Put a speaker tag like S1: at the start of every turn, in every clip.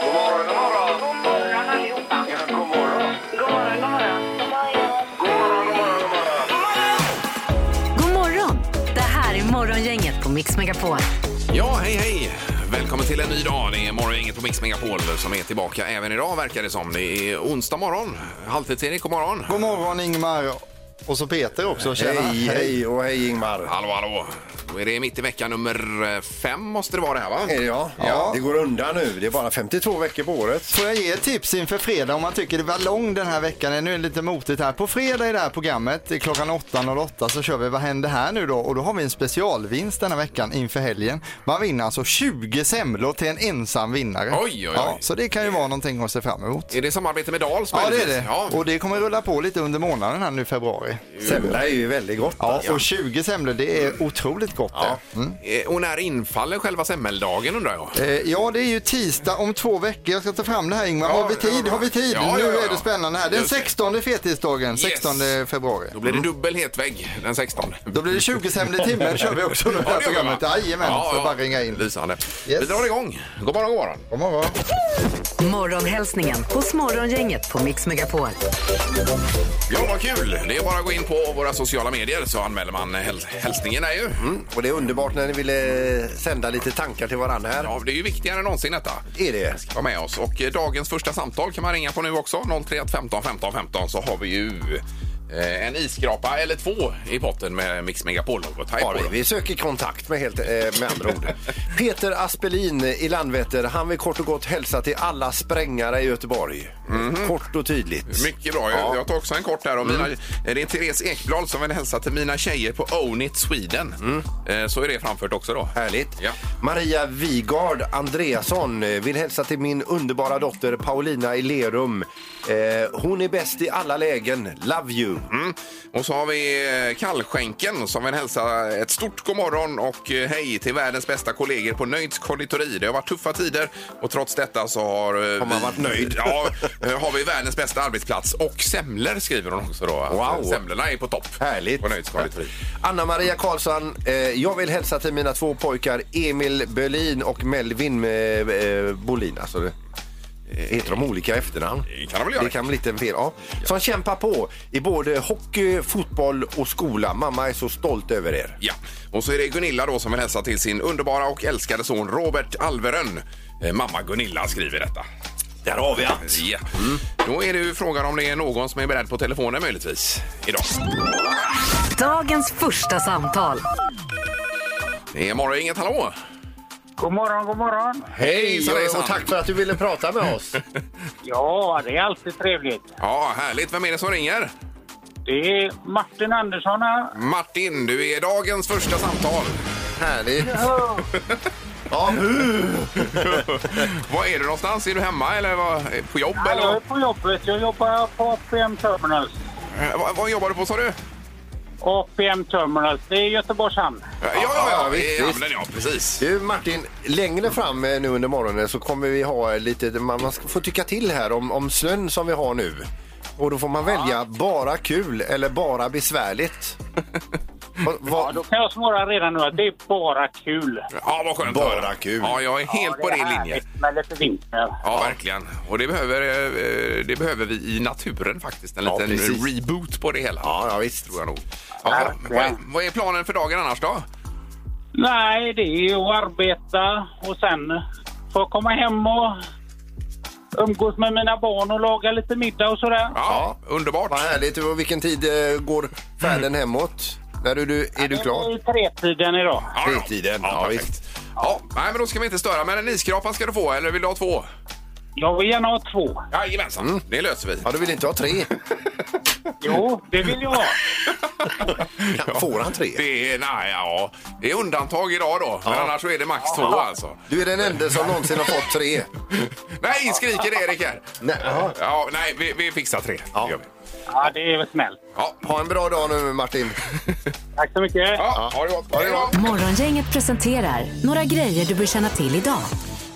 S1: God morgon, god morgon. God morgon allihopa. Ja, god morgon. God morgon, god morgon. God morgon, god morgon, god morgon.
S2: God morgon! Det här är Morgongänget på Mix Megapol.
S3: Ja, hej hej! Välkommen till en ny dag. Det är Morgongänget på Mix Megapol som är tillbaka även idag verkar det som. Det är onsdag morgon. Halvtids-Erik, god morgon.
S4: God morgon Ingmar och så Peter också. Tjena.
S5: Hej, hej och hej Ingmar.
S3: Hallå, hallå. Då är det mitt i vecka nummer eh, fem måste det vara det här va?
S5: Är det jag?
S4: Ja.
S5: Det går undan nu. Det är bara 52 veckor på året.
S4: Får jag ge ett tips inför fredag om man tycker det var lång den här veckan? Nu är det lite motigt här. På fredag i det här programmet eh, klockan 8.08 så kör vi Vad händer här nu då? Och då har vi en specialvinst den här veckan inför helgen. Man vinner alltså 20 semlor till en ensam vinnare.
S3: Oj, oj, oj.
S4: Ja, så det kan ju vara någonting att se fram emot.
S3: Är det samarbete med Dals?
S4: Ja det är
S3: möjligtvis?
S4: det.
S3: Ja.
S4: Och det kommer rulla på lite under månaden här nu i februari.
S5: Semla är ju väldigt gott.
S4: Ja, och 20 semlor det är otroligt gott det. Mm.
S3: Eh, Och när infaller själva semmeldagen undrar jag?
S4: Eh, Ja, det är ju tisdag om två veckor. Jag ska ta fram det här Ingvar.
S3: Ja,
S4: har vi tid?
S3: ja,
S4: har vi tid?
S3: ja, ja,
S4: nu
S3: ja.
S4: är det spännande här. Den
S3: Just det.
S4: 16 fettisdagen, 16 februari.
S3: Då blir det dubbel hetvägg den 16.
S4: Mm. Då blir det 20 sämre i timmen kör vi också det
S3: Ja,
S4: här
S3: det gör
S4: programmet.
S3: man.
S4: Jajamän,
S3: Ja,
S4: får
S3: ja.
S4: bara ringa in.
S3: Lysande.
S4: Yes.
S3: Vi drar igång. God morgon, god morgon.
S4: God morgon.
S2: Morgonhälsningen hos Morgongänget på Mix Megapol.
S3: Ja, vad kul! Det är bara att gå in på våra sociala medier så anmäler man häl- hälsningen där ju.
S5: Och det är underbart när ni ville sända lite tankar till varandra här.
S3: Ja, det är ju viktigare än någonsin detta.
S5: Är det?
S3: vara med oss. Och eh, dagens första samtal kan man ringa på nu också. 031 15 15 15 så har vi ju eh, en isskrapa eller två i potten med Mix Megapol och
S5: Har vi. Vi söker kontakt med, helt, eh, med andra ord. Peter Aspelin i Landvetter, han vill kort och gott hälsa till alla sprängare i Göteborg. Kort och tydligt.
S3: Mycket bra. Jag, jag tar också en kort där. Och
S5: Mm.
S3: mina, eh, Det är Therese Ekblad som vill hälsa till mina tjejer på Own It Sweden. Eh, Så är det framfört också då.
S5: Mm. Härligt.
S3: Ja.
S5: Maria Vigard Andreasson eh, vill hälsa till min underbara dotter Paulina i Lerum. Eh, hon är bäst i alla lägen. Love you.
S3: Mm. Och så har vi eh, Kallskänken som vill hälsa ett stort god morgon och eh, hej till världens bästa kollegor på Nöjds konditori. Det har varit tuffa tider och trots detta så har... eh,
S5: Har man
S3: vi-
S5: varit nöjd?
S3: Ja, eh, har vi världens bästa arbetsplats och semlor skriver hon också då. Att,
S5: Wow.
S3: eh, Semlorna är på topp.
S5: Härligt.
S3: På Nöjds konditori.
S5: Anna Maria Karlsson, eh, jag vill hälsa till mina två pojkar Emil Berlin och Melvin eh, eh, Bolin. Alltså, det-
S3: Eh.
S5: Heter de olika efternamn?
S3: Det kan de väl göra.
S5: Det kan bli lite fel. Ja. Som kämpar på i både hockey, fotboll och skola. Mamma är så stolt över er.
S3: Ja. Och så är det Gunilla då som vill hälsa till sin underbara och älskade son Robert Alverön. Eh, Mamma Gunilla skriver detta.
S5: Där har vi allt.
S3: Ja. Mm. Då är det ju frågan om det är någon som är beredd på telefonen möjligtvis idag.
S2: Dagens första samtal.
S3: Det är morgon, inget hallå!
S6: God morgon, god morgon.
S5: Hej
S3: Hejsan, hejsan.
S5: och tack för att du ville prata med oss.
S6: Ja, det är alltid trevligt.
S3: Ja, härligt. Vem är det som ringer?
S6: Det är Martin Andersson här.
S3: Martin, du är dagens första samtal.
S5: Härligt. Ja, bu.
S3: Var är du någonstans? Är du hemma eller vad, Eh, på jobb? Eller?
S6: Jag är på jobbet. Jag jobbar på APM Terminals.
S3: Eh, Vad, vad jobbar du på sa du? Ja,
S6: APM Terminals, det är Göteborgs hamn.
S3: ja, ja,
S5: ja, visst, visst.
S3: i hamnen ja, precis.
S5: Du Martin, längre fram eh, nu under morgonen så kommer vi ha lite, man, man ska få tycka till här om, om snön som vi har nu. Och då får man välja bara kul eller bara besvärligt. Va,
S6: Ja,
S5: va,
S6: då kan jag svara redan nu att det är bara kul.
S3: Ja, vad skönt
S5: Bara
S3: att höra.
S5: kul.
S3: Ja, jag är
S6: ja,
S3: helt
S6: det
S3: på
S6: är
S3: din linje.
S6: härligt Med lite vinter.
S3: Ja, verkligen. Och det behöver, eh, det behöver vi i naturen faktiskt. En
S5: Ja,
S3: liten
S5: precis.
S3: reboot på det hela.
S5: ja, ja visst.
S3: Tror jag nog. Ja,
S6: Verkligen.
S3: vad, är, vad är planen för dagen annars då?
S6: Nej, det är ju att arbeta och sen få komma hem och umgås med mina barn och laga lite middag och sådär.
S3: Ja, underbart.
S5: Vad härligt. Och vilken tid eh, går färden
S3: Mm.
S5: hemåt? När du, du, är du
S6: Det är
S5: klar?
S6: ju tretiden idag.
S3: Ja, ja.
S5: Fritiden.
S3: Ja,
S5: Ja,
S3: perfekt.
S5: visst.
S3: Ja, nej, men då ska vi inte störa. Men en iskrapa ska du få, eller vill du ha två?
S6: Jag vill gärna ha två.
S3: Jajamensan,
S5: Mm.
S3: det löser vi.
S5: Ja, du vill inte ha tre?
S6: Jo, det vill jag ha.
S5: Får han tre?
S3: Det är, nej, ja. det är undantag idag då, men annars så är det max två alltså.
S5: Du är den enda som någonsin har fått tre.
S3: Nej, skriker Erik här.
S5: Nej, jaha.
S3: Ja, nej, vi, vi fixar tre. Det gör vi.
S6: Ja, det är väl snällt.
S3: Ja.
S5: Ha en bra dag nu Martin.
S6: Tack så mycket.
S3: Ja, ha det gott. Ha det gott.
S2: Morgongänget presenterar några grejer du bör känna till idag.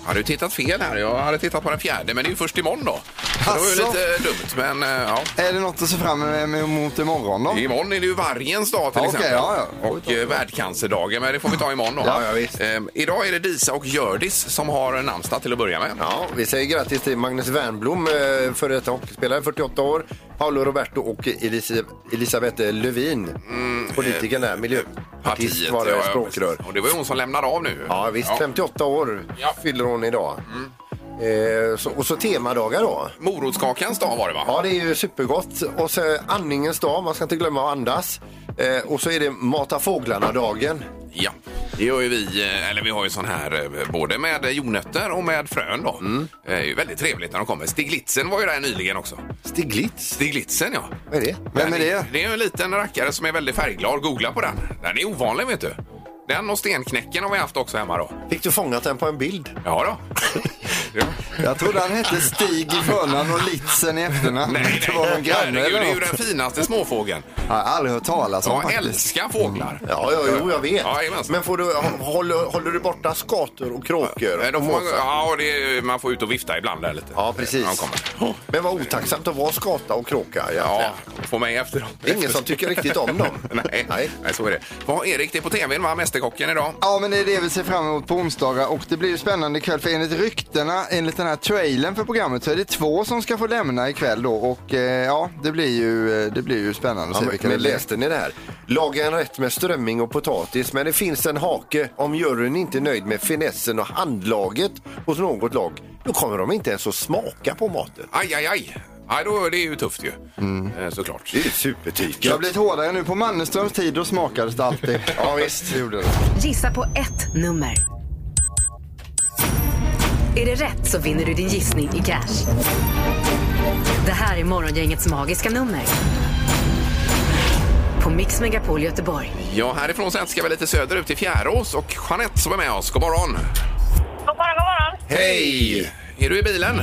S3: Har du tittat fel här? Jag hade tittat på den fjärde, men det är ju först imorgon då. Så Det var ju
S4: Alltså.
S3: lite dumt, men eh, ja.
S4: Är det något att se fram emot imorgon då?
S3: Imorgon är det ju vargens dag till
S4: Ja,
S3: exempel.
S4: okej, ja, ja.
S3: Och eh, världscancerdagen, men det får vi ta imorgon då.
S5: Ja, ja, visst.
S3: Ehm, idag är det Disa och Hjördis som har namnsdag till att börja med.
S5: Ja, vi säger grattis till Magnus Wernbloom, eh, före detta hockeyspelare, 48 år. Paolo Roberto och Elis- Elisabeth Lövin, politikern där, miljöpartist var det,
S3: Mm, eh, ja, ja,
S5: språkrör.
S3: precis. eh, Och det var ju hon som lämnade av nu.
S5: Ja, visst, 58 år
S3: Ja. Mm.
S5: fyller hon idag. Eh, så, och så temadagar då.
S3: Morotskakans dag var det va?
S5: Ja, det är ju supergott. Och så andningens dag, man ska inte glömma att andas. Eh, och så är det mata fåglarna-dagen.
S3: Ja, det gör ju vi. eh, Eller vi har ju sån här eh, både med jordnötter och med frön då.
S5: Mm.
S3: Det är ju väldigt trevligt när de kommer. Stiglitzen var ju där nyligen också.
S5: Stiglitz,
S3: Stiglitzen ja.
S5: vad är det?
S4: Vem är
S3: Den
S4: det?
S3: Det är ju en liten rackare som är väldigt färgglad. Googla på den. Den är ovanlig vet du. Den och stenknäcken har vi haft också hemma då.
S5: Fick du fångat den på en bild?
S3: Ja då. Ja.
S4: Jag trodde han hette Stig i förnamn och Litzen i efternamn.
S3: Nej,
S4: det var
S3: nej.
S4: någon granne
S3: Herregud, det är
S4: eller
S3: ju
S4: något.
S3: den finaste småfågeln.
S4: Jag har aldrig hört talas om
S3: Jag
S4: faktiskt.
S3: älskar fåglar.
S5: Ja, ja jo, jag vet.
S3: Ja, jajamensan.
S5: Men får du, hå- håller, håller du borta skator och kråkor?
S3: Eh, De får
S5: och
S3: man,
S5: måsar?
S3: ja, det är, man får ut och vifta ibland där lite.
S5: Ja, precis.
S3: När de kommer. Oh,
S5: Men vad otacksamt att vara skata och kråka.
S3: Ja,
S5: Ja.
S3: få mig efter dem.
S5: Det är ingen som tycker riktigt om dem.
S3: Nej, nej.
S5: Nej.
S3: så är det. Vad, Erik, det är på tvn, va? Mästerkocken idag.
S4: Ja, men det är det vi ser fram emot på onsdagar och det blir ju spännande ikväll för enligt ryktena, enligt den här trailern för programmet så är det två som ska få lämna ikväll då och eh, ja, det blir ju, eh, det blir ju spännande
S5: Ja,
S4: att se
S5: men,
S4: vilka det
S5: men
S4: blir.
S5: läste ni det här? Laga en rätt med strömming och potatis, men det finns en hake. Om juryn inte är nöjd med finessen och handlaget hos något lag, då kommer de inte ens att smaka på maten.
S3: Aj, aj, aj. aj då, det är ju tufft ju,
S4: Mm.
S3: Eh, såklart.
S5: Det är ju supertyget.
S4: Det har blivit hårdare nu. På Mannerströms tid då smakades det alltid.
S5: Ja, visst.
S4: Det gjorde det.
S2: Gissa på ett nummer. Är det rätt så vinner du din gissning i cash. Det här är Morgongängets magiska nummer. På Mix Megapol Göteborg.
S3: Ja, härifrån sen ska vi lite söderut till Fjärås och Jeanette som är med oss. God morgon!
S7: God morgon, god morgon.
S3: Hej! Är du i bilen?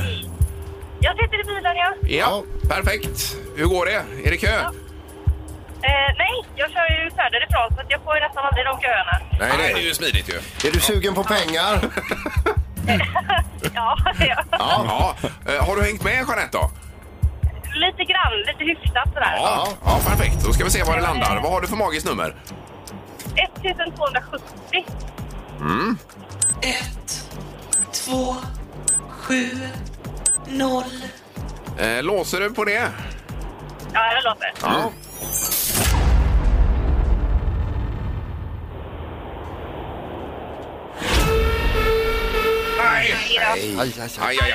S7: Jag sitter i bilen, ja.
S3: Ja, perfekt. Hur går det? Är det kö?
S7: Eh, nej, jag kör ju söderifrån så att jag får ju nästan aldrig de köerna.
S3: Nej, det är ju smidigt ju.
S5: Är du sugen på pengar?
S7: Ja, ja.
S3: Ja. Eh, Har du hängt med Jeanette då?
S7: lite grann, lite hyfsat sådär.
S3: Ja. ja, perfekt. Då ska vi se var det landar. Vad har du för magiskt nummer?
S7: 1270.
S8: två, sju, noll.
S3: Eh, Låser du på det?
S7: Ja, det låter.
S3: Ja. Nej!
S4: Aj, aj, aj.
S3: Aj, aj, aj.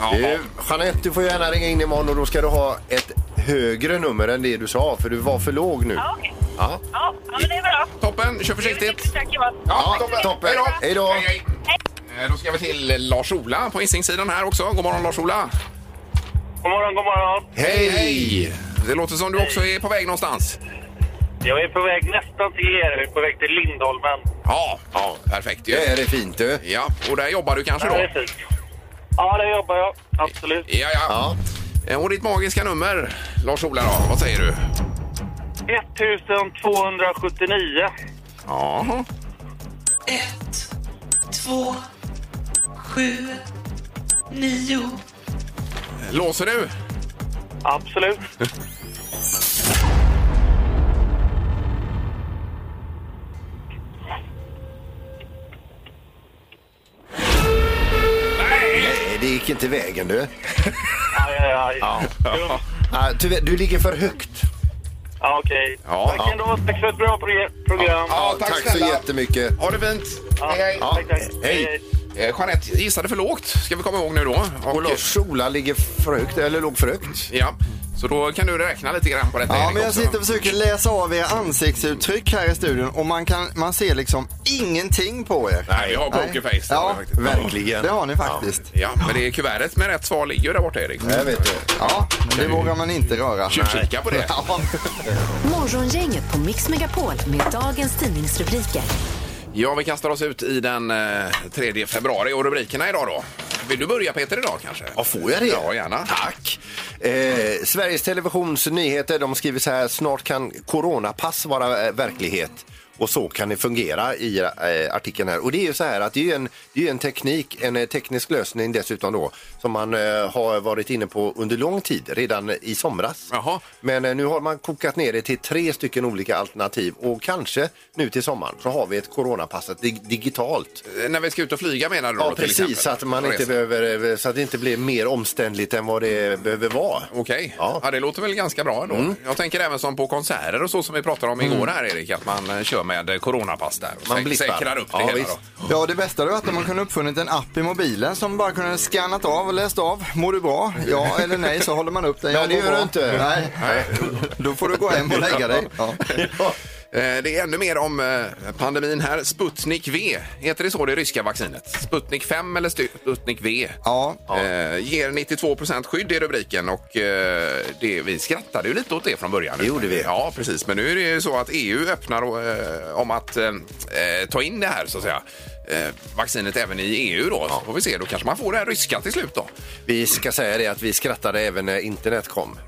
S3: Ja, ja.
S5: Du, Jeanette, du får gärna ringa in imorgon och då ska du ha ett högre nummer än det du sa, för du var för låg nu.
S7: Ja, okej.
S5: Ja.
S7: Ja, ja, men det är bra.
S3: Toppen, kör
S7: Det är
S3: försiktigt.
S7: mycket tack, Johan.
S5: Ja, toppen.
S3: Hej då.
S5: Hej då.
S3: Hej, hej. Eh, Då ska vi till Lars-Ola på Hisingssidan här också. God morgon Lars-Ola.
S1: God morgon, god morgon.
S5: Hej!
S3: Hej! Det låter som du också är på väg någonstans.
S1: Jag är på väg nästan till er. Jag är på väg till Lindholmen.
S3: Ja, ja perfekt
S5: Det
S3: ju.
S5: är det fint du.
S3: Ja, och där jobbar du kanske
S1: Ja, det
S3: då?
S1: är fint. Ja, där jobbar jag. Absolut.
S3: Ja, ja.
S5: Ja.
S3: Eh, Och ditt magiska nummer, Lars-Ola då, vad säger du?
S1: 1279.
S3: Jaha.
S8: Ett, två, sju, nio.
S3: Låser du?
S1: Absolut.
S5: Nej, det gick inte vägen du.
S1: Aj, aj, aj. Ja,
S3: Ja.
S5: Ah, tyvärr, du ligger för högt.
S1: okej.
S3: Ja,
S1: tack
S3: ja.
S1: ändå. Tack för ett bra proge- program.
S3: Ja, tack
S5: Tack så
S3: snälla.
S5: jättemycket.
S3: Ha det fint!
S1: Ja,
S3: Hej, hej.
S1: tack, tack.
S5: Hej.
S3: Eh, Jeanette gissade för lågt, ska vi komma ihåg nu då. Och,
S5: Och Lars-Ola ligger för högt, eller låg för högt.
S3: Ja, så då kan du räkna lite grann på detta
S4: Ja,
S3: Erik,
S4: men jag
S3: också.
S4: sitter och försöker läsa av era ansiktsuttryck här i studion och man, kan, man ser liksom ingenting på er.
S3: Nej, vi har
S4: Nej.
S3: pokerface. det har
S4: Ja,
S3: vi faktiskt.
S5: Verkligen.
S4: Det har ni faktiskt.
S3: Ja, men det är kuvertet med rätt svar ligger ju där borta Erik.
S5: Jag vet du.
S4: Ja, det vågar man inte röra.
S3: Tjuvkika på det.
S4: Ja.
S2: Morgongänget på Mix Megapol med dagens tidningsrubriker.
S3: Ja, vi kastar oss ut i den eh, 3 februari och rubrikerna idag då. Vill du börja Peter idag kanske?
S5: Ja, får jag det?
S3: Ja, gärna.
S5: Tack. Eh, Sveriges Televisions nyheter de skriver så här, snart kan coronapass vara eh, verklighet. Och så kan det fungera i eh, artikeln här. Och det är ju så här att det är ju en, det är ju en teknik, en eh, teknisk lösning dessutom då, som man eh, har varit inne på under lång tid, redan i somras.
S3: Jaha.
S5: Men eh, nu har man kokat ner det till tre stycken olika alternativ och kanske nu till sommaren så har vi ett coronapasset dig- digitalt.
S3: Eh, När vi ska ut och flyga menar du
S5: Ja,
S3: då, till
S5: precis,
S3: exempel?
S5: så att, man inte
S3: Resa.
S5: behöver, eh, så att det inte blir mer omständligt än vad det behöver vara.
S3: Okej, ja.
S5: Ja. Mm.
S3: det låter väl ganska bra ändå. Jag tänker även som på konserter och så som vi pratade om igår här Erik, att man eh, kör med eh, coronapass där. Och
S5: Man
S3: säk-
S5: blippar.
S3: säkrar upp det
S5: Ja,
S3: hela
S5: visst.
S3: då.
S4: Ja, det bästa hade varit om man kunde uppfunnit en app i mobilen som bara kunde skannat av och läst av. Mår du bra? Ja eller nej så håller man upp den.
S5: Men
S4: Ja,
S5: det
S4: mår
S5: gör
S4: bra.
S5: du inte.
S4: Nej. Då får du gå hem och lägga dig. Ja.
S3: Eh, Det är ännu mer om eh, pandemin här. Sputnik V, heter det så det ryska vaccinet? Sputnik 5 eller stu- Sputnik V?
S4: Ja.
S3: Eh, ger 92 skydd i rubriken och eh, det, vi skrattade ju lite åt det från början. Det gjorde vi. Ja, precis. Men nu är det ju så att EU öppnar eh, om att eh, eh, ta in det här så att säga. Eh, vaccinet även i EU då. Så får vi se, då kanske man får det här ryska till slut då.
S5: Vi ska säga det att vi skrattade även när internet kom.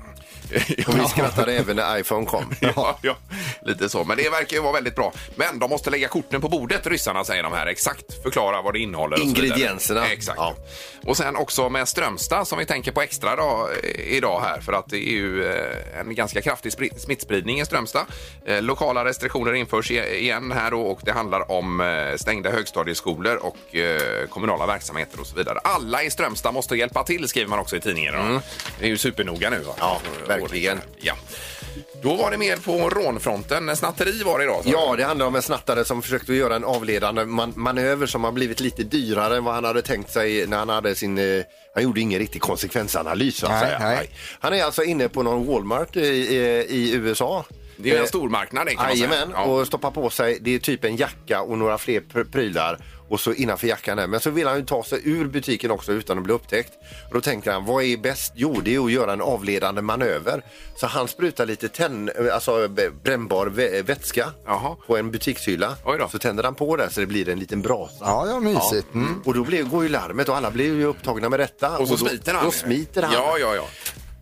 S5: Och vi skrattade även när iPhone kom.
S3: Ja, ja, lite så. Men det verkar ju vara väldigt bra. Men de måste lägga korten på bordet, ryssarna säger de här. Exakt förklara vad det innehåller. och så vidare.
S5: Ingredienserna.
S3: Exakt.
S5: Ja.
S3: Och sen också med Strömstad som vi tänker på extra då, eh, idag här. För att det är ju eh, en ganska kraftig spri- smittspridning i Strömstad. Eh, Lokala restriktioner införs i- igen här då, och det handlar om eh, stängda högstadieskolor och eh, kommunala verksamheter och så vidare. Alla i Strömstad måste hjälpa till skriver man också i tidningen. då. Det är ju supernoga nu. Va?
S5: Mm. Ja, verkligen.
S3: Ja. Då var det mer på rånfronten. Snatteri var det idag. sa
S5: Ja, det handlar om en snattare som försökte göra en avledande man manöver som har blivit lite dyrare än vad han hade tänkt sig när han hade sin... Eh, han gjorde ingen riktig konsekvensanalys så att
S4: Nej,
S5: säga.
S4: nej.
S5: Han är alltså inne på någon Walmart i, i, i USA.
S3: du. Det är ju en
S5: Eh,
S3: stormarknad. det kan man säga.
S5: Jajamän,
S3: Ja.
S5: och stoppar på sig, det är typ en jacka och några fler pr- prylar och så innanför jackan här. Men så vill han ju ta sig ur butiken också utan att bli upptäckt. Och då tänker han, vad är bäst? Jo, det är att göra en avledande manöver. Så han sprutar lite tenn, alltså b- brännbar vä- vätska
S3: Jaha.
S5: på en butikshylla.
S3: Oj då.
S5: Så tänder han på den så det blir en liten brasa.
S4: Ja, ja, mysigt. Mm.
S5: Och då blir, går ju larmet och alla blir ju upptagna med detta.
S3: Och så
S5: då,
S3: smiter han.
S5: Då smiter han.
S3: Ja, ja, ja.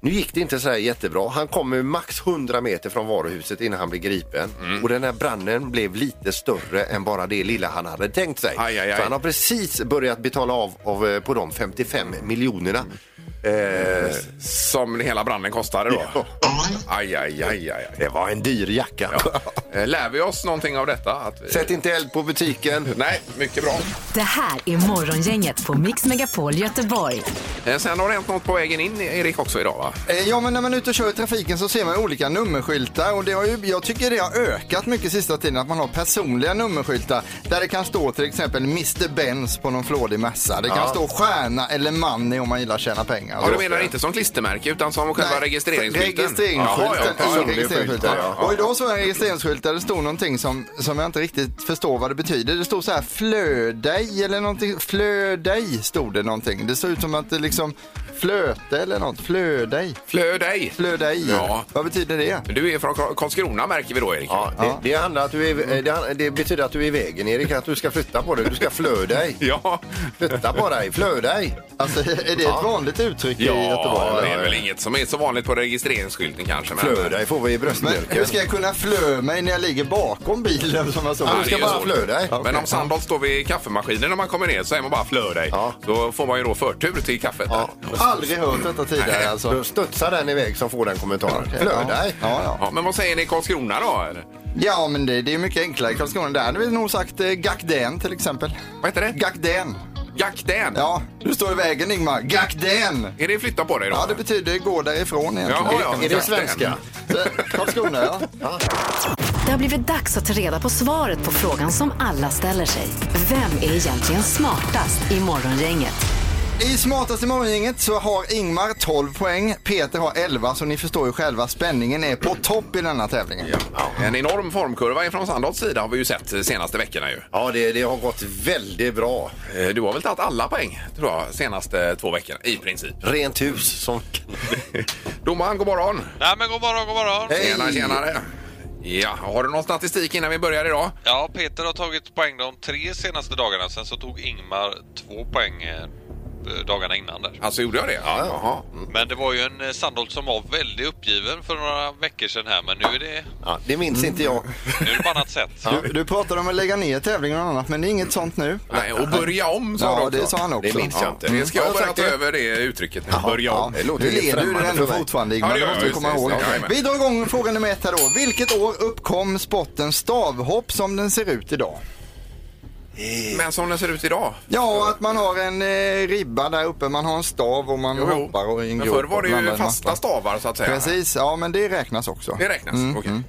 S5: Nu gick det inte så här jättebra. Han kom ju max 100 meter från varuhuset innan han blev gripen.
S3: Mm.
S5: Och den här branden blev lite större än bara det lilla han hade tänkt sig.
S3: Aj, aj, aj.
S5: Så han har precis börjat betala av, av eh, på de 55 miljonerna.
S3: Mm.
S5: Eh,
S3: Som hela branden kostade då. Aj, aj, aj, aj. aj.
S5: det var en dyr jacka.
S3: Eh, Lär vi oss någonting av detta? Att vi...
S5: Sätt inte eld på butiken.
S3: Nej, mycket bra.
S2: Det här är Morgongänget på Mix Megapol Göteborg.
S3: Eh, Sen har det hänt något på vägen in, Erik, också idag va?
S4: Eh, Ja, men när man är ute och kör i trafiken så ser man olika nummerskyltar och det har ju, jag tycker det har ökat mycket sista tiden att man har personliga nummerskyltar där det kan stå till exempel Mr. Benz på någon flådig mässa. Det kan stå stjärna eller money om man gillar att tjäna pengar.
S3: Ja, du menar inte som klistermärke utan som själva registreringsskylten? Jaha, ja,
S4: Registreringsskylten. Ja,
S3: ja.
S5: personlig
S4: registreringsskylten.
S5: skylt, ja, ja.
S4: Och idag såg jag en registreringsskylt där det stod någonting som, som jag inte riktigt förstår vad det betyder. Det stod så här flödej eller någonting. Flödej stod det någonting. Det såg ut som att det liksom flöte eller något. Flödej.
S3: Flödej!
S4: Flödej.
S3: Ja.
S4: Vad betyder det?
S3: Du är från Kar- Karlskrona märker vi då, Erik.
S5: Ja, det, det, handlar att du är, eh, det, han- det betyder att du är i vägen, Erik. Att du ska flytta på dig. Du ska flö dig.
S3: Ja,
S5: Flytta på dig, flö dig.
S4: Alltså, är det ett vanligt uttryck i Göteborg?
S3: ja
S4: eller?
S3: det är väl inget som är så vanligt på registreringsskylten kanske. Men...
S5: Flö dig får vi i
S4: Men hur
S5: bröstmjölken.
S4: ska jag kunna flö mig när jag ligger bakom bilen som jag såg?
S3: Ja,
S5: Du ska
S3: det är
S5: bara
S3: svårt.
S5: flö dig.
S4: Ja.
S3: Men om Sandholt står vid kaffemaskinen när man kommer ner så är man bara flör dig.
S5: Ja.
S3: Då får man ju då förtur till kaffet.
S5: Ja.
S3: där.
S4: Aldrig hört detta tidigare alltså.
S5: Då studsar den iväg som får den kommentaren.
S4: Okej,
S5: Flö
S4: ja.
S5: dig.
S4: Ja, ja.
S3: Ja, men vad säger ni i Karlskrona då? eller?
S4: Ja, men det, det är mycket enklare i Karlskrona. Där hade vi nog sagt eh, Gakdän till exempel.
S3: Vad heter det?
S4: Gakdän.
S3: Gakdän?
S4: Ja, du står i vägen Ingmar. Gakdän!
S3: Är det flytta på dig då?
S4: Ja, det betyder gå därifrån egentligen.
S3: Jaha, ja.
S5: Är det svenska?
S4: Så, Eh, Karlskrona, ja.
S2: Det har blivit dags att ta reda på svaret på frågan som alla ställer sig. Vem är egentligen smartast i Morgongänget?
S4: I smartaste morgongänget så har Ingmar 12 poäng, Peter har 11, så ni förstår ju själva spänningen är på topp i denna tävlingen.
S3: Ja. En enorm formkurva från Sandholts sida har vi ju sett de senaste veckorna ju.
S5: Ja, det, det har gått väldigt bra.
S3: Eh, Du har väl tagit alla poäng, tror jag, senaste två veckorna i princip.
S5: Rent hus. Som...
S3: Domaren, god morgon!
S9: Nej men god morgon, god morgon.
S5: Hej.
S3: Tjena, tjenare! Ja, har du någon statistik innan vi börjar idag?
S9: Ja, Peter har tagit poäng de tre senaste dagarna. Sen så tog Ingmar två poäng eh, eh, dagarna innan där.
S3: Alltså gjorde jag det? Ja, jaha. Mm.
S9: Men det var ju en eh, Sandholt som var väldigt uppgiven för några veckor sedan här men nu är det,
S5: Ja, det minns inte jag.
S9: nu är det på annat sätt.
S4: Du, du pratade om att lägga ner tävlingen och annat, men det är inget sånt nu.
S3: Nej, och börja om sa
S4: Ja,
S3: du också.
S4: det sa han också.
S5: Det minns jag
S4: Ja.
S5: inte.
S3: Det ska jag
S5: Har
S3: börja
S5: sagt
S3: ta
S5: det?
S3: över det uttrycket nu. Börja
S4: Ja,
S3: om.
S5: det låter
S4: nu
S5: lite
S4: leder du
S5: främmande
S4: det ändå
S5: för mig.
S4: fortfarande
S3: Ja,
S4: Ingmar,
S3: det
S4: det
S3: gör
S4: måste vi
S3: jag,
S4: komma
S3: precis.
S4: ihåg.
S3: Jajamän.
S4: Vi drar igång fråga nummer ett här då. Vilket år uppkom sporten stavhopp som den ser ut idag?
S3: Men som den ser ut idag.
S4: Ja, att man har en eh, ribba där uppe, man har en stav och man hoppar och i en
S3: Men
S4: grop
S3: förr var
S4: och
S3: det ju
S4: blandar en
S3: fasta
S4: massa.
S3: stavar så att säga.
S4: Precis, ja men det räknas också. Mm,
S3: Det räknas? Okej.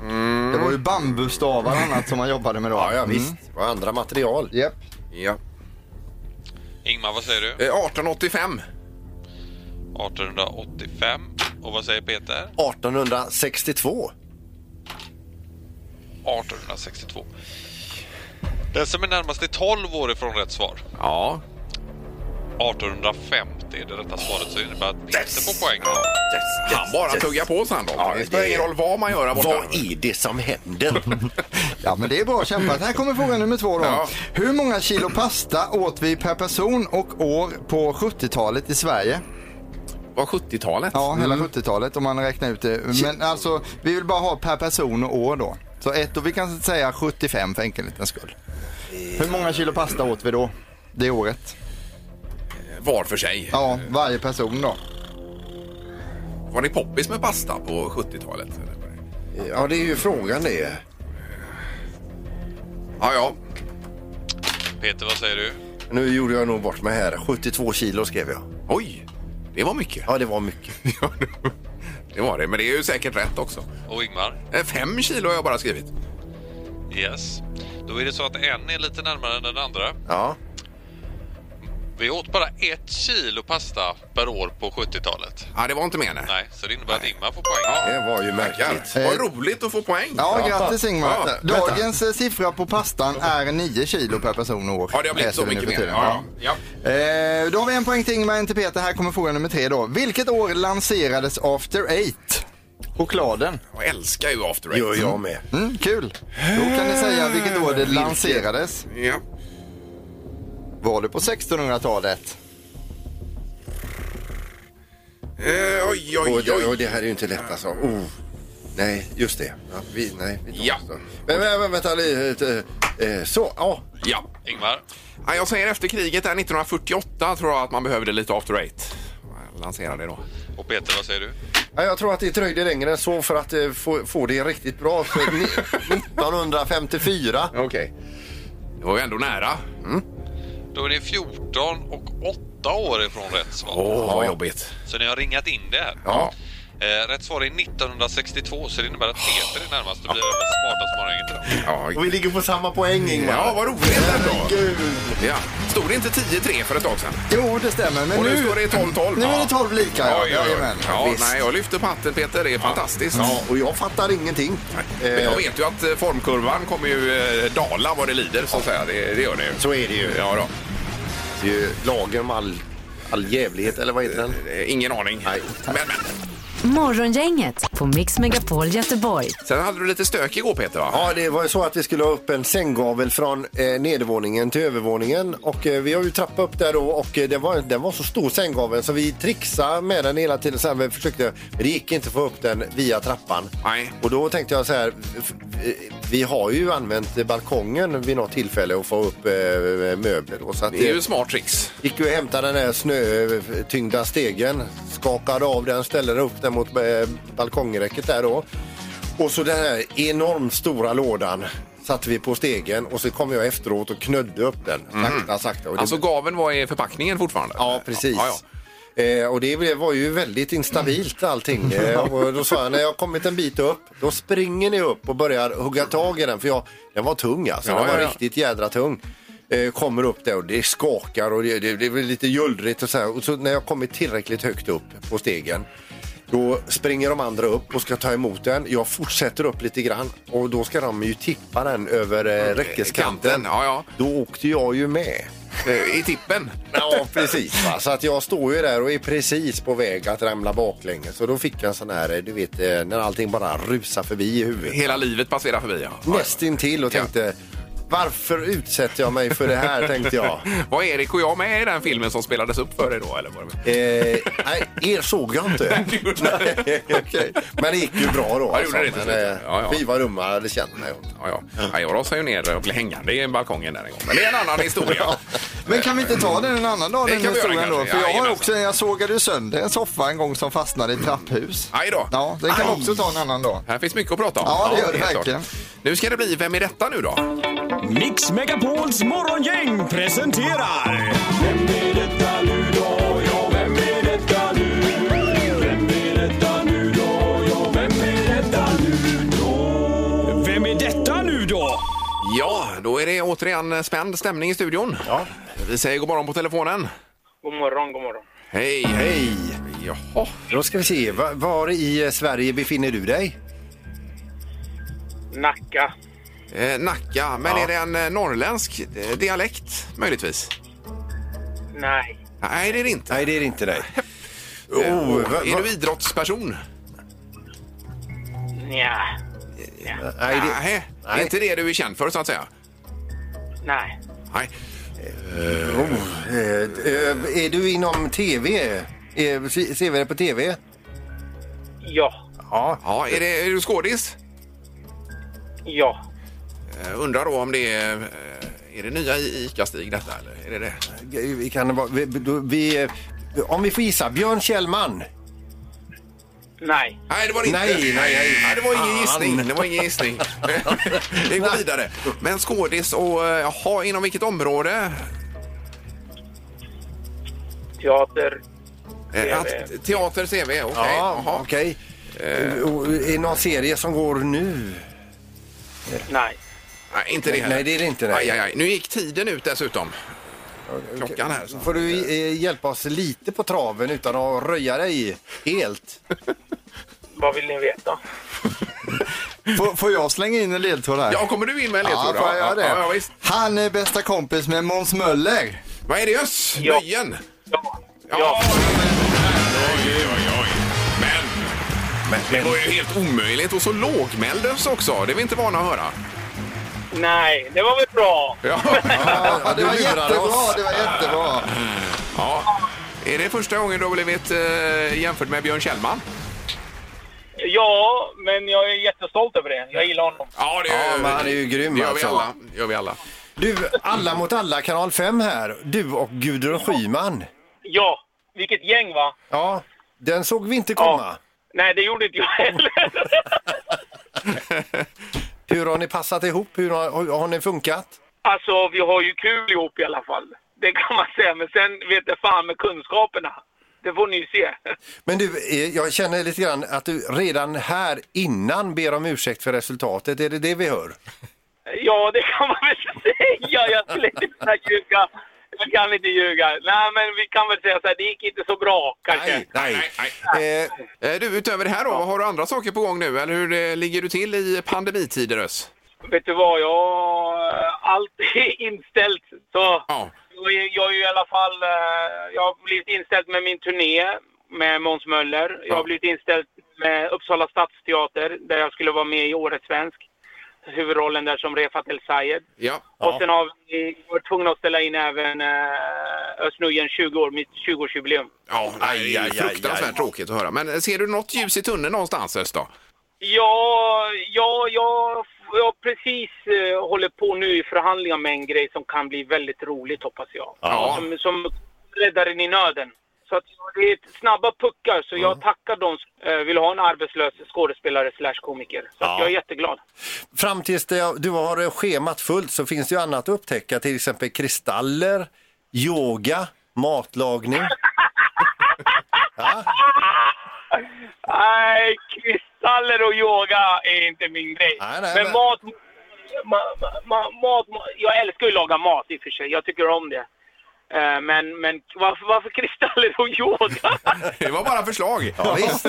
S4: mm. Det var ju bambustavar
S3: Mm.
S4: och annat som man jobbade med då. Mm.
S5: Ja, ja visst. Och andra material.
S4: Japp.
S3: Ja.
S9: Ingmar, vad säger du?
S3: Eh, 1885.
S9: 1885. Och vad säger Peter?
S5: 1862.
S9: 1862. Den som är närmast är 12 år ifrån rätt svar.
S3: Ja.
S9: 1850 är det rätta svaret så innebär att Peter får poäng.
S3: Han bara tuggar på Sandholm.
S5: Ja,
S3: det spelar
S5: det-
S3: ingen roll vad man gör här borta.
S5: Vad är det som händer?
S4: Ja, men det är bra kämpat. Här kommer fråga nummer två då.
S3: Ja.
S4: Hur många kilo pasta åt vi per person och år på 70-talet i Sverige?
S3: Var 70-talet?
S4: Ja, hela 70-talet om man räknar ut det. Men alltså, vi vill bara ha per person och år då. Så ett och vi kan säga 75 för enkelhetens skull. Hur många kilo pasta åt vi då? Det året.
S3: Var för sig.
S4: Ja, varje person då.
S3: Var ni poppis med pasta på 70-talet?
S5: Ja, det är ju frågan det.
S3: Ja, ja.
S9: Peter, vad säger du?
S5: Nu gjorde jag nog bort mig här. 72 kilo skrev jag.
S3: Oj, det var mycket.
S5: Ja, det var mycket.
S3: Ja, det var det, men det är ju säkert rätt också.
S9: Och Ingmar?
S3: Eh, Fem kilo har jag bara skrivit.
S9: Yes. Då är det så att en är lite närmare än den andra.
S5: Ja.
S9: Vi åt bara ett kilo pasta per år på 70-talet.
S3: Ja, det var inte mer nej.
S9: Nej, så det innebär att Ingmar får poäng.
S5: Det var ju märkligt.
S3: Tackar. Vad roligt att få poäng.
S4: Ja, grattis
S3: Ja,
S4: Ingmar.
S3: vänta.
S4: Dagens eh, siffra på pastan är 9 kilo per person och år.
S3: Ja, det har blivit
S4: Läser
S3: så
S4: vi nu
S3: mycket
S4: för
S3: mer.
S4: tiden.
S3: Ja, ja.
S4: Eh, Då har vi en poäng till Ingmar, en till Peter. Här kommer fråga nummer tre då. Vilket år lanserades After Eight? Chokladen.
S3: Jag älskar ju After Eight.
S5: Gör jag med.
S4: Mm, kul. Då kan ni säga vilket år det lanserades.
S3: Ja.
S4: Var det på 1600-talet?
S3: Eh, oj, oj,
S5: Och,
S3: oj.
S5: och, och det här är ju inte lätt alltså. Oh. Nej, just det. Ja, vi, nej, vi tar
S3: Ja.
S5: oss då. Men, men, men vänta lite. Eh, Så, ja.
S3: Ja.
S9: Ingmar?
S3: Ja, Jag säger efter kriget där 1948 tror jag att man behövde lite After Eight. Jag lanserade det då.
S9: Och Peter, vad säger du?
S5: Ja, Jag tror att det dröjde längre än så för att eh, få, få det riktigt bra. För ni- 1954.
S3: Okej. Det var ju ändå nära. Mm.
S9: Då är ni 14 och 8 år ifrån rätt svar.
S3: Åh, vad jobbigt.
S9: Så ni har ringat in det här.
S3: Ja.
S9: Eh, rätt svar är 1962 så det innebär att Peter är närmast och blir även smartast morgongänget idag.
S3: Ja,
S5: Och vi ligger på samma poäng Ingmar.
S3: ja vad roligt ändå. Ja. Stod det inte 10-3 för ett tag sedan?
S4: Jo, det stämmer. Men
S3: Och nu
S4: nu,
S3: står det 12-12.
S4: nu är
S3: Ja.
S4: det 12 lika. Ja.
S3: Oj, oj, oj.
S4: Jajamän.
S3: Ja,
S5: visst.
S3: nej, jag lyfter på hatten Peter, det är fantastiskt.
S5: Ja, och jag fattar ingenting.
S3: Men jag
S5: Eh,
S3: vet ju att eh, formkurvan kommer ju eh, dala vad det lider så att säga. Det, det gör det ju.
S5: Så är det ju.
S3: Ja då.
S5: Det är ju lagen om all, all jävlighet, eller vad heter den?
S3: Eh, Ingen aning.
S5: Nej.
S3: Men, men.
S2: Morgongänget på Mix Megapol Göteborg.
S3: Sen hade du lite stök igår Peter va?
S5: Ja, det var ju så att vi skulle ha upp en sänggavel från eh, nedervåningen till övervåningen och eh, vi har ju trappa upp där då och eh, det var, den var så stor sänggaveln så vi trixade med den hela tiden så här, vi försökte, men det gick inte att få upp den via trappan.
S3: Nej.
S5: Och då tänkte jag så här, f- vi- vi har ju använt eh, balkongen vid något tillfälle och få upp eh, möbler då, så att
S3: Det är
S5: eh,
S3: ju smart tricks.
S5: Gick ju och hämtade den där snötyngda stegen, skakade av den, ställde upp den mot eh, balkongräcket där då. Och så den här enormt stora lådan satte vi på stegen och så kom jag efteråt och knödde upp den sakta, sakta. Och det,
S3: Alltså gaven var i förpackningen fortfarande?
S5: ja, precis.
S3: Ja, Mm. ja.
S5: Eh, och det blev- var ju väldigt instabilt allting. Eh, och då sa jag, när jag kommit en bit upp, då springer ni upp och börjar hugga tag i den. För jag, den var tung alltså,
S3: Ja,
S5: den var
S3: ja, ja.
S5: riktigt jädra tung. Eh, kommer upp där och det skakar och det, det, det blir lite jullrigt och så här. Och så när jag kommit tillräckligt högt upp på stegen, då springer de andra upp och ska ta emot den. Jag fortsätter upp lite grann och då ska de ju tippa den över eh, räckeskanten.
S3: kanten, ja, ja.
S5: Då åkte jag ju med.
S3: Eh, I tippen?
S5: Ja, precis. Va? Så att jag står ju där och är precis på väg att ramla baklänges. Så då fick jag en sån här, du vet, eh, när allting bara rusar förbi i huvudet.
S3: Hela livet passerar förbi ja.
S5: Nästintill och tänkte, Varför utsätter jag mig för det här tänkte jag.
S3: Var Erik och jag med i den filmen som spelades upp för dig då? Eller var det...
S5: Eh, nej, er såg jag inte. Nej, okej. Men det gick ju bra då.
S3: Ja, det gjorde det till
S5: Men,
S3: slut.
S5: eh,
S3: Ja, ja.
S5: Fy vad dumma det känner mig.
S3: Ja, ja. ja, jag rasade ju ner och blev hängande i balkongen där en gång. Men det är en annan historia.
S4: Men kan vi inte ta den en annan dag,
S3: Det
S4: den
S3: kan vi göra
S4: historien då?
S3: kanske.
S4: För jag har
S3: Jajamensan.
S4: också, jag sågade ju sönder en soffa en gång som fastnade i ett trapphus.
S3: Aj då.
S4: Ja, den kan
S3: Aj.
S4: också ta en annan dag.
S3: Här finns mycket att prata om.
S4: Ja, det gör det
S3: helt klart.
S4: verkligen.
S3: Nu ska det bli Vem är detta nu då?
S10: Mix Megapols morgongäng presenterar... Vem är detta nu då? Ja, vem är detta nu? Vem är detta nu då? Ja, vem är detta nu då? Vem är detta nu då?
S3: Ja, då är det återigen spänd stämning i studion. Ja. Vi säger god morgon på telefonen.
S6: God morgon, god morgon.
S3: Hej, hej. Jaha.
S5: Då ska vi se, va- var i eh, Sverige befinner du dig?
S6: Nacka.
S3: Eh, Nacka, men är det en eh, norrländsk eh, dialekt möjligtvis?
S6: Nej.
S3: Nej, det är det inte.
S5: Nej, det är inte dig. Oh,
S3: Eh, och
S5: va-
S3: är
S5: va-
S3: du idrottsperson?
S6: Nja.
S5: Nej, det,
S3: Nej, det är
S5: nej.
S3: inte det du är känd för så att säga.
S6: Nej.
S3: Nej.
S5: oh, eh, eh, är du inom tv? Eh, se- Ser vi det på tv?
S6: Ja.
S5: Ja.
S3: Ja, är, det, är du skådis?
S6: Ja.
S3: Eh, Undrar då om det är... eh, Är det nya i ICA-Stig detta eller? Är det det?
S5: Vi kan, vara- vi, då- vi, eh, om vi får gissa, Björn Kjellman.
S6: Nej.
S3: Nej, det var det inte.
S5: Nej, nej, nej.
S3: det var ingen
S5: Fan.
S3: gissning. Det var ingen gissning. Vi går vidare. Men skådis och... eh, Jaha, inom vilket område?
S6: Teater.
S3: Eh,
S6: TV.
S3: att- Teater, CV, okej.
S5: Ja,
S3: jaha.
S5: Eh,
S3: Eh.
S5: okej. Och Är det någon serie som går nu?
S6: Nej.
S3: Nej, inte det heller.
S5: Nej, det är det inte, nej.
S3: Aj, aj, aj. Nu gick tiden ut dessutom. Klockan här. Så.
S5: Får du eh, hjälpa oss lite på traven utan att röja dig helt?
S6: Vad vill ni veta?
S4: Får, får jag slänga in en ledtråd här?
S3: Ja, kommer du in med en ledtråd?
S4: Ja, får jag göra det?
S3: Ja, ja, visst.
S4: Han är bästa kompis med Måns Möller.
S3: Vad är det? Öss?
S6: Ja.
S3: Nöjen?
S6: Ja.
S3: Ja.
S6: Ja.
S3: Oj, oj, oj. Men, men det var ju helt omöjligt. Och så lågmäld Öss också. Det är vi inte vana att höra.
S6: Nej, det var väl bra.
S3: Ja.
S4: Ja, det
S5: du
S4: var
S5: lurar
S4: jättebra,
S5: oss.
S4: det var jättebra.
S3: ja. Är det första gången du har blivit eh, jämfört med Björn Kjellman?
S6: Ja, men jag är jättestolt över det. Jag gillar honom.
S3: Ja, det
S5: Ja, men han är ju grym,
S3: det gör vi
S5: alltså.
S3: alla. Det gör vi alla.
S5: Du, Alla mot alla, kanal 5 här. Du och Gudrun Schyman.
S6: Ja, vilket gäng va?
S5: Ja, den såg vi inte komma.
S6: Nej, det gjorde inte jag heller.
S5: Hur har ni passat ihop? Hur har, har- har ni funkat?
S6: alltså, vi har ju kul ihop i alla fall. Det kan man säga. Men sen vet jag fan med kunskaperna. Det får ni ju se.
S5: Men du, eh, jag känner lite grann att du redan här innan ber om ursäkt för resultatet. Är det det vi hör?
S6: Ja, det kan man väl säga. Jag skulle inte kunna ljuga. Jag kan inte ljuga. Nej, men vi kan väl säga så här. Det gick inte så bra kanske.
S5: Nej, nej.
S3: nej.
S5: Eh,
S3: Eh, Du, utöver det här då, har du andra saker på gång nu? Eller hur eh, ligger du till i pandemitider, Ös?
S6: Vet du vad? Jag... Allt är inställt. Så...
S3: Ja.
S6: Jag är- jag är ju i alla fall... eh, Jag har blivit inställd med min turné med Måns Möller. Jag har blivit inställd med Uppsala stadsteater där jag skulle vara med i Årets svensk. Huvudrollen där som Refat El Sayed.
S3: Ja.
S6: Och sen har vi varit tvungna att ställa in även uh, Özz Nujen 20 år, mitt 20-årsjubileum.
S3: Ja, nej, det är ju
S5: aj, aj,
S3: fruktansvärt
S5: aj.
S3: tråkigt att höra. Men eh, ser du något ljus i tunneln någonstans, Ös, då?
S6: Ja, ja, ja, jag precis eh, håller på nu i förhandlingar med en grej som kan bli väldigt roligt hoppas jag.
S3: Ja.
S6: Som, som räddaren i nöden. Så att det är snabba puckar så jag tackar de som eh, vill ha en arbetslös skådespelare slash komiker. Så att jag är jätteglad.
S5: Fram tills det, du har schemat fullt så finns det ju annat att upptäcka, till exempel kristaller, yoga, matlagning.
S6: Nej, kristaller och yoga är inte min grej.
S5: Nej, nej,
S6: men,
S5: men-
S6: mat... Ma, ma, mat ma, jag älskar ju att laga mat i och för sig. Jag tycker om det. Eh, Men, men varför, varför kristaller och yoga?
S3: Det var bara förslag.
S5: Ja, visst.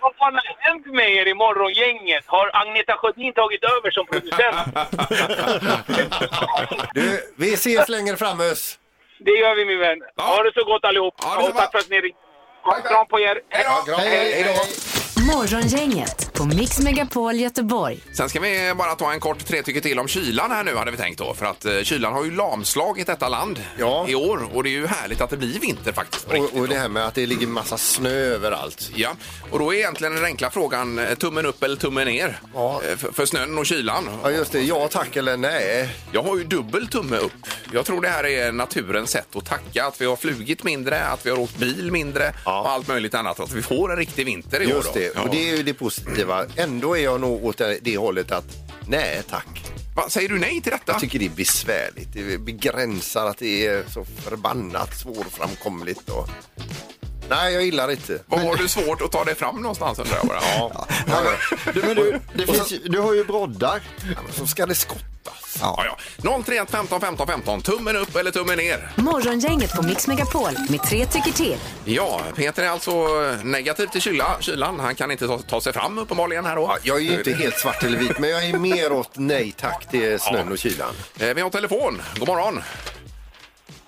S6: Vad fan har hänt med er i morgongänget? Har Agneta Sjödin tagit över som producent?
S5: Du, vi ses längre fram Özz.
S6: Det gör vi min vän. Ha det så gott allihop.
S3: Ja, det
S6: och tack för att ni ringde. Ha en Kram på er.
S3: Hej då!
S5: Hej, hej, hej.
S4: då.
S2: Morgongänget på Mix Megapol Göteborg.
S3: Sen ska vi bara ta en kort tre tycker till om kylan här nu hade vi tänkt då. För att eh, kylan har ju lamslagit detta land
S5: Ja.
S3: i år och det är ju härligt att det blir vinter faktiskt. på riktigt.
S5: Och, och det här med att det ligger massa snö överallt.
S3: Ja, och då är egentligen den enkla frågan eh, tummen upp eller tummen ner
S5: Ja.
S3: Eh, för, för snön och kylan.
S5: Ja just det, ja tack eller nej.
S3: Jag har ju dubbel tumme upp. Jag tror det här är naturens sätt att tacka. Att vi har flugit mindre, att vi har åkt bil mindre
S5: Ja.
S3: och allt möjligt annat. Att vi får en riktig vinter i år.
S5: Just
S3: då.
S5: det, och det är ju det positiva. Ändå är jag nog åt det, det hållet att nej tack.
S3: Va, säger du nej till detta?
S5: Jag tycker det är besvärligt. Det begränsar att det är så förbannat svårframkomligt. Och... Nej, jag gillar inte.
S3: Vad har du svårt att ta dig fram någonstans undrar jag bara. Ja.
S4: Du, men du, det finns, ju- du har ju broddar.
S5: Så ska det skottas.
S3: Ja, ja. 031 15 15 15. Tummen upp eller tummen ner?
S2: Morgongänget på Mix Megapol med tre tycker till.
S3: Ja, Peter är alltså negativ till kyla, kylan. Han kan inte ta, ta sig fram uppenbarligen här då. Eh,
S5: Jag är ju inte helt svart eller vit, men jag är mer åt nej tack till snön och kylan.
S3: Eh, Vi har telefon. God morgon.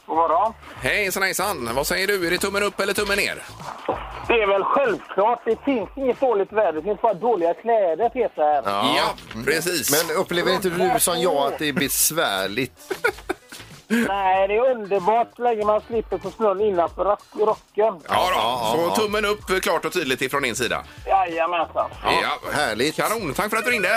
S6: God morgon.
S3: Hejsan hejsan. Vad säger du? Är det tummen upp eller tummen ner?
S6: Det är väl självklart. Det finns inget dåligt väder. Det finns bara dåliga kläder, Peter.
S3: Ja, precis.
S5: Men upplever inte du som jag att det är besvärligt?
S6: Nej, det är underbart så länge man slipper få snön innanför rock- rocken.
S3: Ja, då.
S5: Ja,
S3: så
S5: ja, ja.
S3: tummen upp eh, klart och tydligt ifrån din sida.
S6: Jajamensan.
S3: Ja.
S5: Härligt.
S3: Kanon, tack för att du ringde.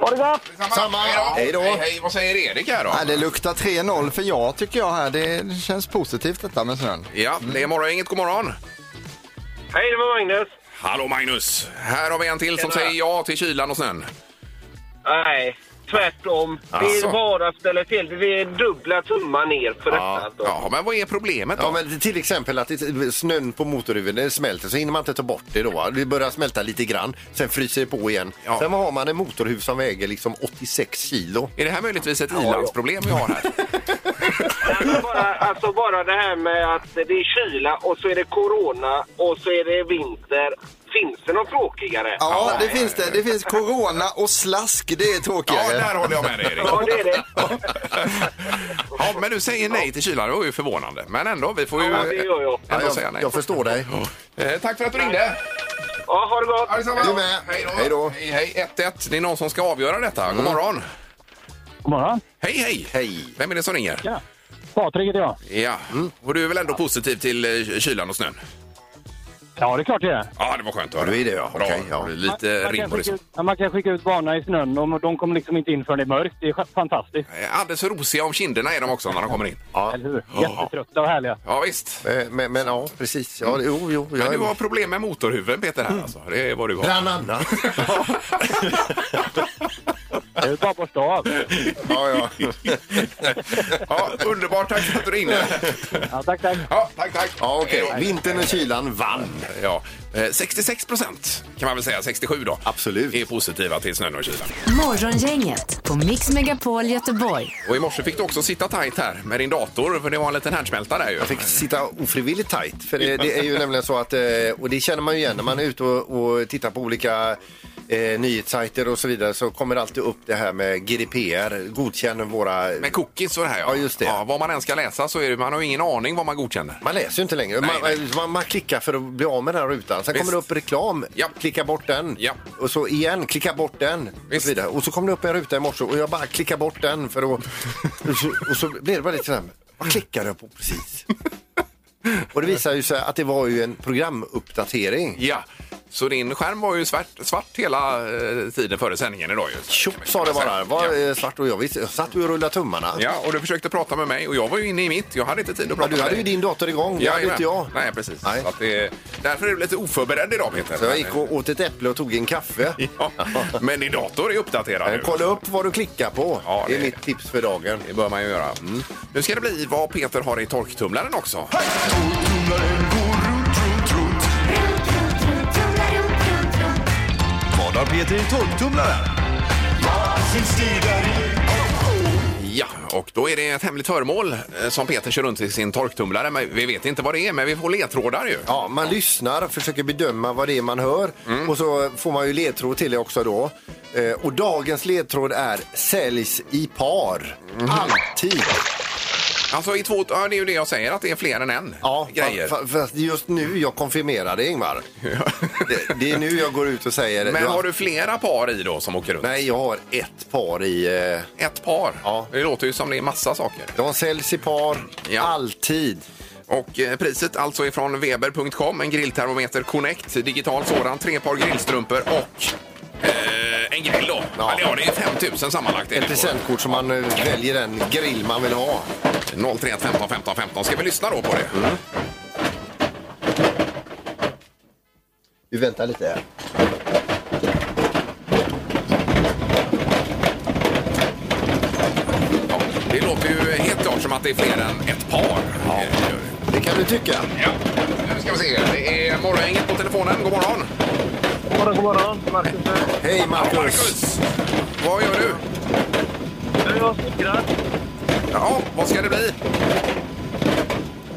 S6: Ha det gott!
S5: Samma.
S3: Hej
S5: Hej
S3: då.
S5: då.
S3: Hej, hej. Vad säger Erik här då?
S4: Nej, det luktar 3-0 för jag tycker jag här. Det det känns positivt detta med snön.
S3: Ja, det är morgongänget. God morgon.
S6: Hej, det var Magnus.
S3: Hallå Magnus! Här har vi en till som
S6: Tjena.
S3: säger ja till kylan och snön.
S6: Nej, tvärtom.
S3: Alltså.
S6: Vi bara ställer till det. Vi är dubbla tummar ner för detta.
S3: Ja,
S6: alltså.
S3: ja men vad är problemet då?
S5: Ja, men till exempel att det- snön på motorhuven det smälter så hinner man inte ta bort det då. va? Det börjar smälta lite grann, sen fryser det på igen.
S3: Ja.
S5: Sen har man en motorhuv som väger liksom 86 kilo.
S3: Är det här möjligtvis ett ilandsproblem vi har här?
S6: Nej, men bara, alltså bara det här med att det är kyla och så är det corona och så är det vinter. Finns det något tråkigare?
S4: Ja, det finns det. Det finns corona och slask. Det är
S3: Ja,
S4: tråkigare.
S3: där håller jag med dig Erik.
S6: Ja, det är det.
S3: Ja, men du säger nej till kylan, det var ju förvånande. Men ändå, vi får ju
S6: Ja, det gör jag.
S3: ändå
S5: jag,
S3: säga nej.
S5: jag förstår dig.
S3: Eh, tack för att du ringde.
S6: Ja, ha det gott!
S3: Ja, detsamma.
S5: Du med.
S3: Hej då.
S5: Hej då.
S3: Hej, hej. 1-1. Det är någon som ska avgöra detta.
S6: Mm.
S3: God morgon.
S6: God morgon.
S3: Hej, hej.
S5: Hej.
S3: Vem är det som ringer?
S6: Ja. Mm. Patrik heter jag.
S3: Ja. Och du är väl ändå positiv till eh, kylan och snön?
S6: Ja, det är klart det är.
S3: Ja, det var skönt att höra.
S5: Ja, det är det, ja.
S3: Bra.
S5: Okej, ja.
S3: Lite rim på det. så.
S6: man kan skicka ut barnen i snön och de kommer liksom inte in förrän det är mörkt. Det är fantastiskt.
S3: Eh, Alldeles rosiga om kinderna är de också när de kommer in.
S5: Ja.
S6: Eller hur? Jättetrötta och härliga.
S3: Ja, visst.
S5: Eh, Men, men ja, precis. Ja, jo, jo.
S3: Men
S5: Jag
S3: du har problem med motorhuven, Peter, här alltså. Det är vad du har.
S5: Bland annat.
S6: Det är bara borsta av.
S5: ja, ja.
S3: Ja, underbart. Tack för att du ringde.
S6: Ja, tack, tack.
S3: Ja, tack, tack.
S5: ja okej. Vintern och kylan vann.
S3: Ja, eh, 66 procent kan man väl säga, 67 då.
S5: Absolut.
S3: Är positiva till snön och kylan.
S2: Morgongänget på Mix Megapol Göteborg.
S3: Och i morse fick du också sitta tajt här med din dator för det var en liten härdsmälta där ju.
S5: Jag fick sitta ofrivilligt tajt. För det, det är ju nämligen så att, eh, och det känner man ju igen när man är ute och, och tittar på olika eh, nyhetssajter och så vidare så kommer det alltid upp det här med GDPR, godkänner våra...
S3: Med cookies och det här ja.
S5: Ja, just det.
S3: Ja, vad man än ska läsa så är det, man har ju ingen aning vad man godkänner.
S5: Man läser ju inte längre.
S3: Nej,
S5: man, Man, man klickar för att bli av med den här rutan. Sen
S3: Visst.
S5: kommer det upp reklam.
S3: Ja.
S5: Klicka bort den.
S3: Ja.
S5: Och så igen, klicka bort den. Och
S3: Visst.
S5: så, vidare. och så kom det upp en ruta i morse och jag bara klickar bort den. För att, och, så, och så blev det bara lite sådär, vad klickade jag på precis? och det visar ju sig att det var ju en programuppdatering.
S3: Ja, så din skärm var ju svart, svart hela eh, tiden före sändningen idag ju.
S5: Tjopp sa det bara. Var
S3: alltså. Ja.
S5: eh, svart och jag visste. Jag satt och rullade tummarna.
S3: ja, och du försökte prata med mig och jag var ju inne i mitt. Jag hade inte tid att prata
S5: Ja, du
S3: med
S5: hade
S3: dig.
S5: ju din dator igång. Det hade
S3: Jajamän.
S5: inte jag.
S3: Nej, precis.
S5: Nej.
S3: Så att det, därför är du lite oförberedd idag Peter.
S5: Så jag gick och åt ett äpple och tog en kaffe.
S3: Ja, men din dator är uppdaterad
S5: Men
S3: nu.
S5: Eh, Kolla upp vad du klickar på.
S3: Ja,
S5: det
S3: det-
S5: är mitt tips för dagen.
S3: Det bör man ju göra. Mm. Nu ska det bli vad Peter har i torktumlaren också.
S10: Vad har Peter i torktumlaren?
S3: Ja, och då är det ett hemligt föremål eh, som Peter kör runt i sin torktumlare. Men vi vet inte vad det är, men vi får ledtrådar ju.
S5: Ja, man lyssnar, försöker bedöma vad det är man hör
S3: Mm.
S5: och så får man ju ledtråd till det också då. Eh, och
S3: Mm.
S5: dagens ledtråd är säljs i par. Alltid.
S3: Alltså i två... Ja, det är ju det jag säger, att det är fler än en
S5: Ja,
S3: grejer.
S5: fa- fa- fast det är just nu jag konfirmerar det, Ingmar. Det, det är nu jag går ut och säger det.
S3: Men har du flera par i då som åker runt?
S5: Nej, jag har ett par i... Eh,
S3: Ett par?
S5: Ja.
S3: Det låter ju som det är massa saker.
S5: de säljs i par,
S3: Ja.
S5: alltid.
S3: Och eh, priset alltså ifrån Weber.com, en grilltermometer Connect, digital sådan, tre par grillstrumpor och eh, en grill då. Ja.
S5: Ja.
S3: Eller ja, det är 5000 sammanlagt. är
S5: Ett
S3: det på.
S5: presentkort som man eh, väljer den grill man vill ha.
S3: 031 15 15 15. Ska vi lyssna då på det?
S5: Mm. Vi väntar lite här.
S3: Ja. Det låter ju helt klart som att det är fler än ett par. Ja.
S5: Det kan du tycka.
S3: ja. Nu ska vi se. Det är Morgongänget på telefonen. God morgon!
S6: God morgon, god morgon. Marcus eh, här.
S5: Hej Marcus!
S3: Marcus! Vad gör du?
S6: Nu är jag snickrar.
S3: Ja, vad ska det bli?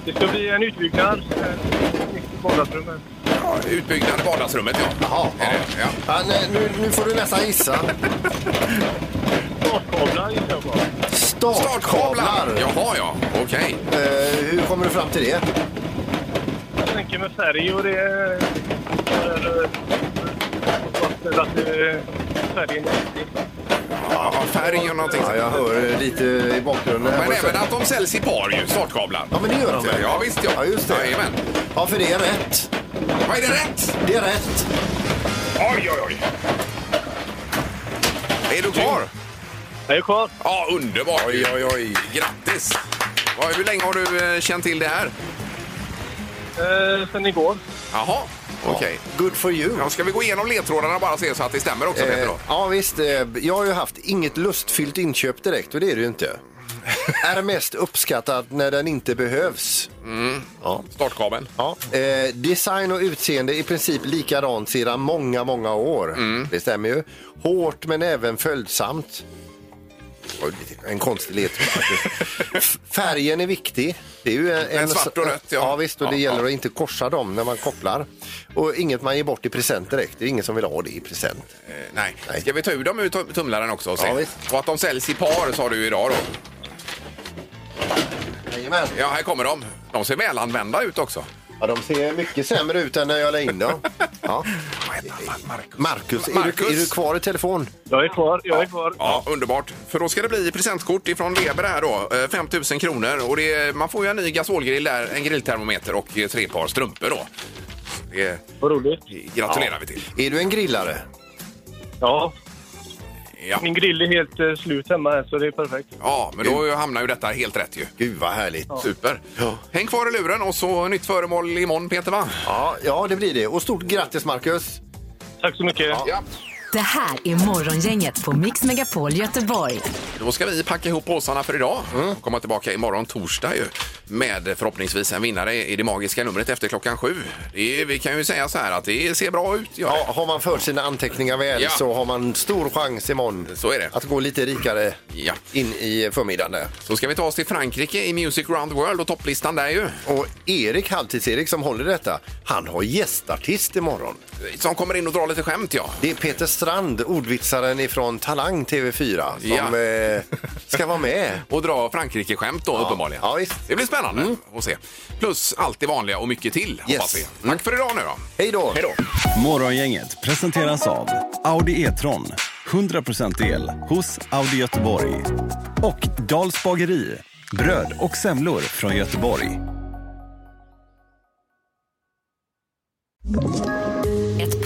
S6: Det ska bli en utbyggnad. eh, Nytt vardagsrum här.
S3: Ja, utbyggnad i vardagsrummet, ja.
S5: Ja,
S3: Är det? ja.
S5: ja, nej, nu, nu får du nästan gissa.
S6: Startkablar gissar jag på.
S3: Startkablar!
S5: Startkablar!
S3: Jaha, ja. Okej.
S5: Eh, hur kommer du fram till det?
S6: Jag tänker med färg och det... är- eh, fastställa att det är färgen är riktig.
S3: Ja, färg och någonting.
S5: Ja, jag hör eh, lite i bakgrunden. här
S3: Men
S5: vad du
S3: även
S5: säger.
S3: att de säljs i par ju, startkablar.
S5: Ja, men det gör de väl?
S3: Ja, visst ja.
S5: Ja, just det.
S3: Jajamän.
S5: Ja, för det är rätt.
S3: Vad är det rätt?
S5: Det är rätt.
S3: Oj, oj, oj. Är du kvar?
S6: Jag är kvar.
S3: Ja, underbart. Oj, oj, oj. Grattis. Vad- Hur länge har du eh, känt till det här?
S6: Eh, sen igår.
S3: Jaha, okej.
S5: Good for you.
S3: Ja, ska vi gå igenom ledtrådarna bara och se så att det stämmer också, Peter?
S5: Eh,
S3: Då?
S5: ja visst, eh, jag har ju haft inget lustfyllt inköp direkt och det är det ju inte. är mest uppskattat när den inte behövs.
S3: Mm. Startkabeln.
S5: Ja. Eh, design och utseende i princip likadant sedan många, många år.
S3: Mm.
S5: Det stämmer ju. Hårt men även följsamt. Oj, det är En konstig ledtråd. faktiskt. F- Färgen är viktig. Det är ju en,
S3: Men svart och rött, ja.
S5: ja. visst, och det
S3: Ja,
S5: gäller
S3: ja.
S5: att inte korsa dem när man kopplar. Och inget man ger bort i present direkt. Det är ingen som vill ha det i present.
S3: Eh, nej.
S5: Nej.
S3: Ska vi ta ur dem ur tum- tumlaren också och se?
S5: Ja, visst.
S3: och att de säljs i par sa du ju idag då.
S5: Jajamän.
S3: Ja, här kommer de. De ser välanvända ut också.
S5: Ja, de ser mycket sämre ut än när jag la in dem. Ja.
S3: Vad heter han? Marcus.
S5: Marcus, är,
S3: Marcus.
S5: Du, är du kvar i telefon?
S6: Jag är kvar. Jag är kvar.
S3: Ja, underbart. För då ska det bli presentkort ifrån Weber här då. eh, 5 000 kronor. Och det, är- man får ju en ny gasolgrill där, en grilltermometer och eh, tre par strumpor då. Det
S6: Vad roligt.
S3: gratulerar vi till.
S5: Är du en grillare?
S6: Ja,
S3: Ja.
S6: min grill är helt eh, slut hemma här så det är perfekt.
S3: ja, men då hamnar ju detta helt rätt ju.
S5: Gud, vad härligt. Ja.
S3: Super. Häng kvar i luren och så nytt föremål imorgon Peter va?
S5: Ja, det blir det. Och stort grattis, Marcus.
S6: Tack så mycket.
S3: Ja.
S2: Det här är Morgongänget på Mix Megapol Göteborg.
S3: Då ska vi packa ihop påsarna för idag
S5: Mm.
S3: och komma tillbaka imorgon torsdag ju med förhoppningsvis en vinnare i det magiska numret efter klockan sju. Det är, vi kan ju säga så här att det ser bra ut. gör det.
S5: Ja, har man fört sina anteckningar väl
S3: Ja.
S5: så har man stor chans imorgon
S3: Så är det.
S5: att gå lite rikare
S3: Ja.
S5: in i förmiddagen. Där.
S3: Så ska vi ta oss till Frankrike i Music Round World och topplistan där ju.
S5: Och Erik, Halvtids-Erik, som håller detta, han har gästartist imorgon.
S3: Som kommer in och drar lite skämt ja.
S5: Det är Peter Strand, ordvitsaren ifrån Talang TV4, som
S3: Ja.
S5: eh, ska vara med.
S3: Och dra Frankrike-skämt då uppenbarligen.
S5: Ja, visst.
S3: Det blir spännande att se. Plus allt det vanliga och mycket till
S5: Yes.
S3: hoppas vi. Tack
S5: Mm.
S3: för idag nu då.
S5: Hej då!
S3: Hej då.
S10: Morgongänget presenteras av Audi E-tron. 100% el hos Audi Göteborg. Och Dals bageri. Bröd och semlor från Göteborg.
S2: Ett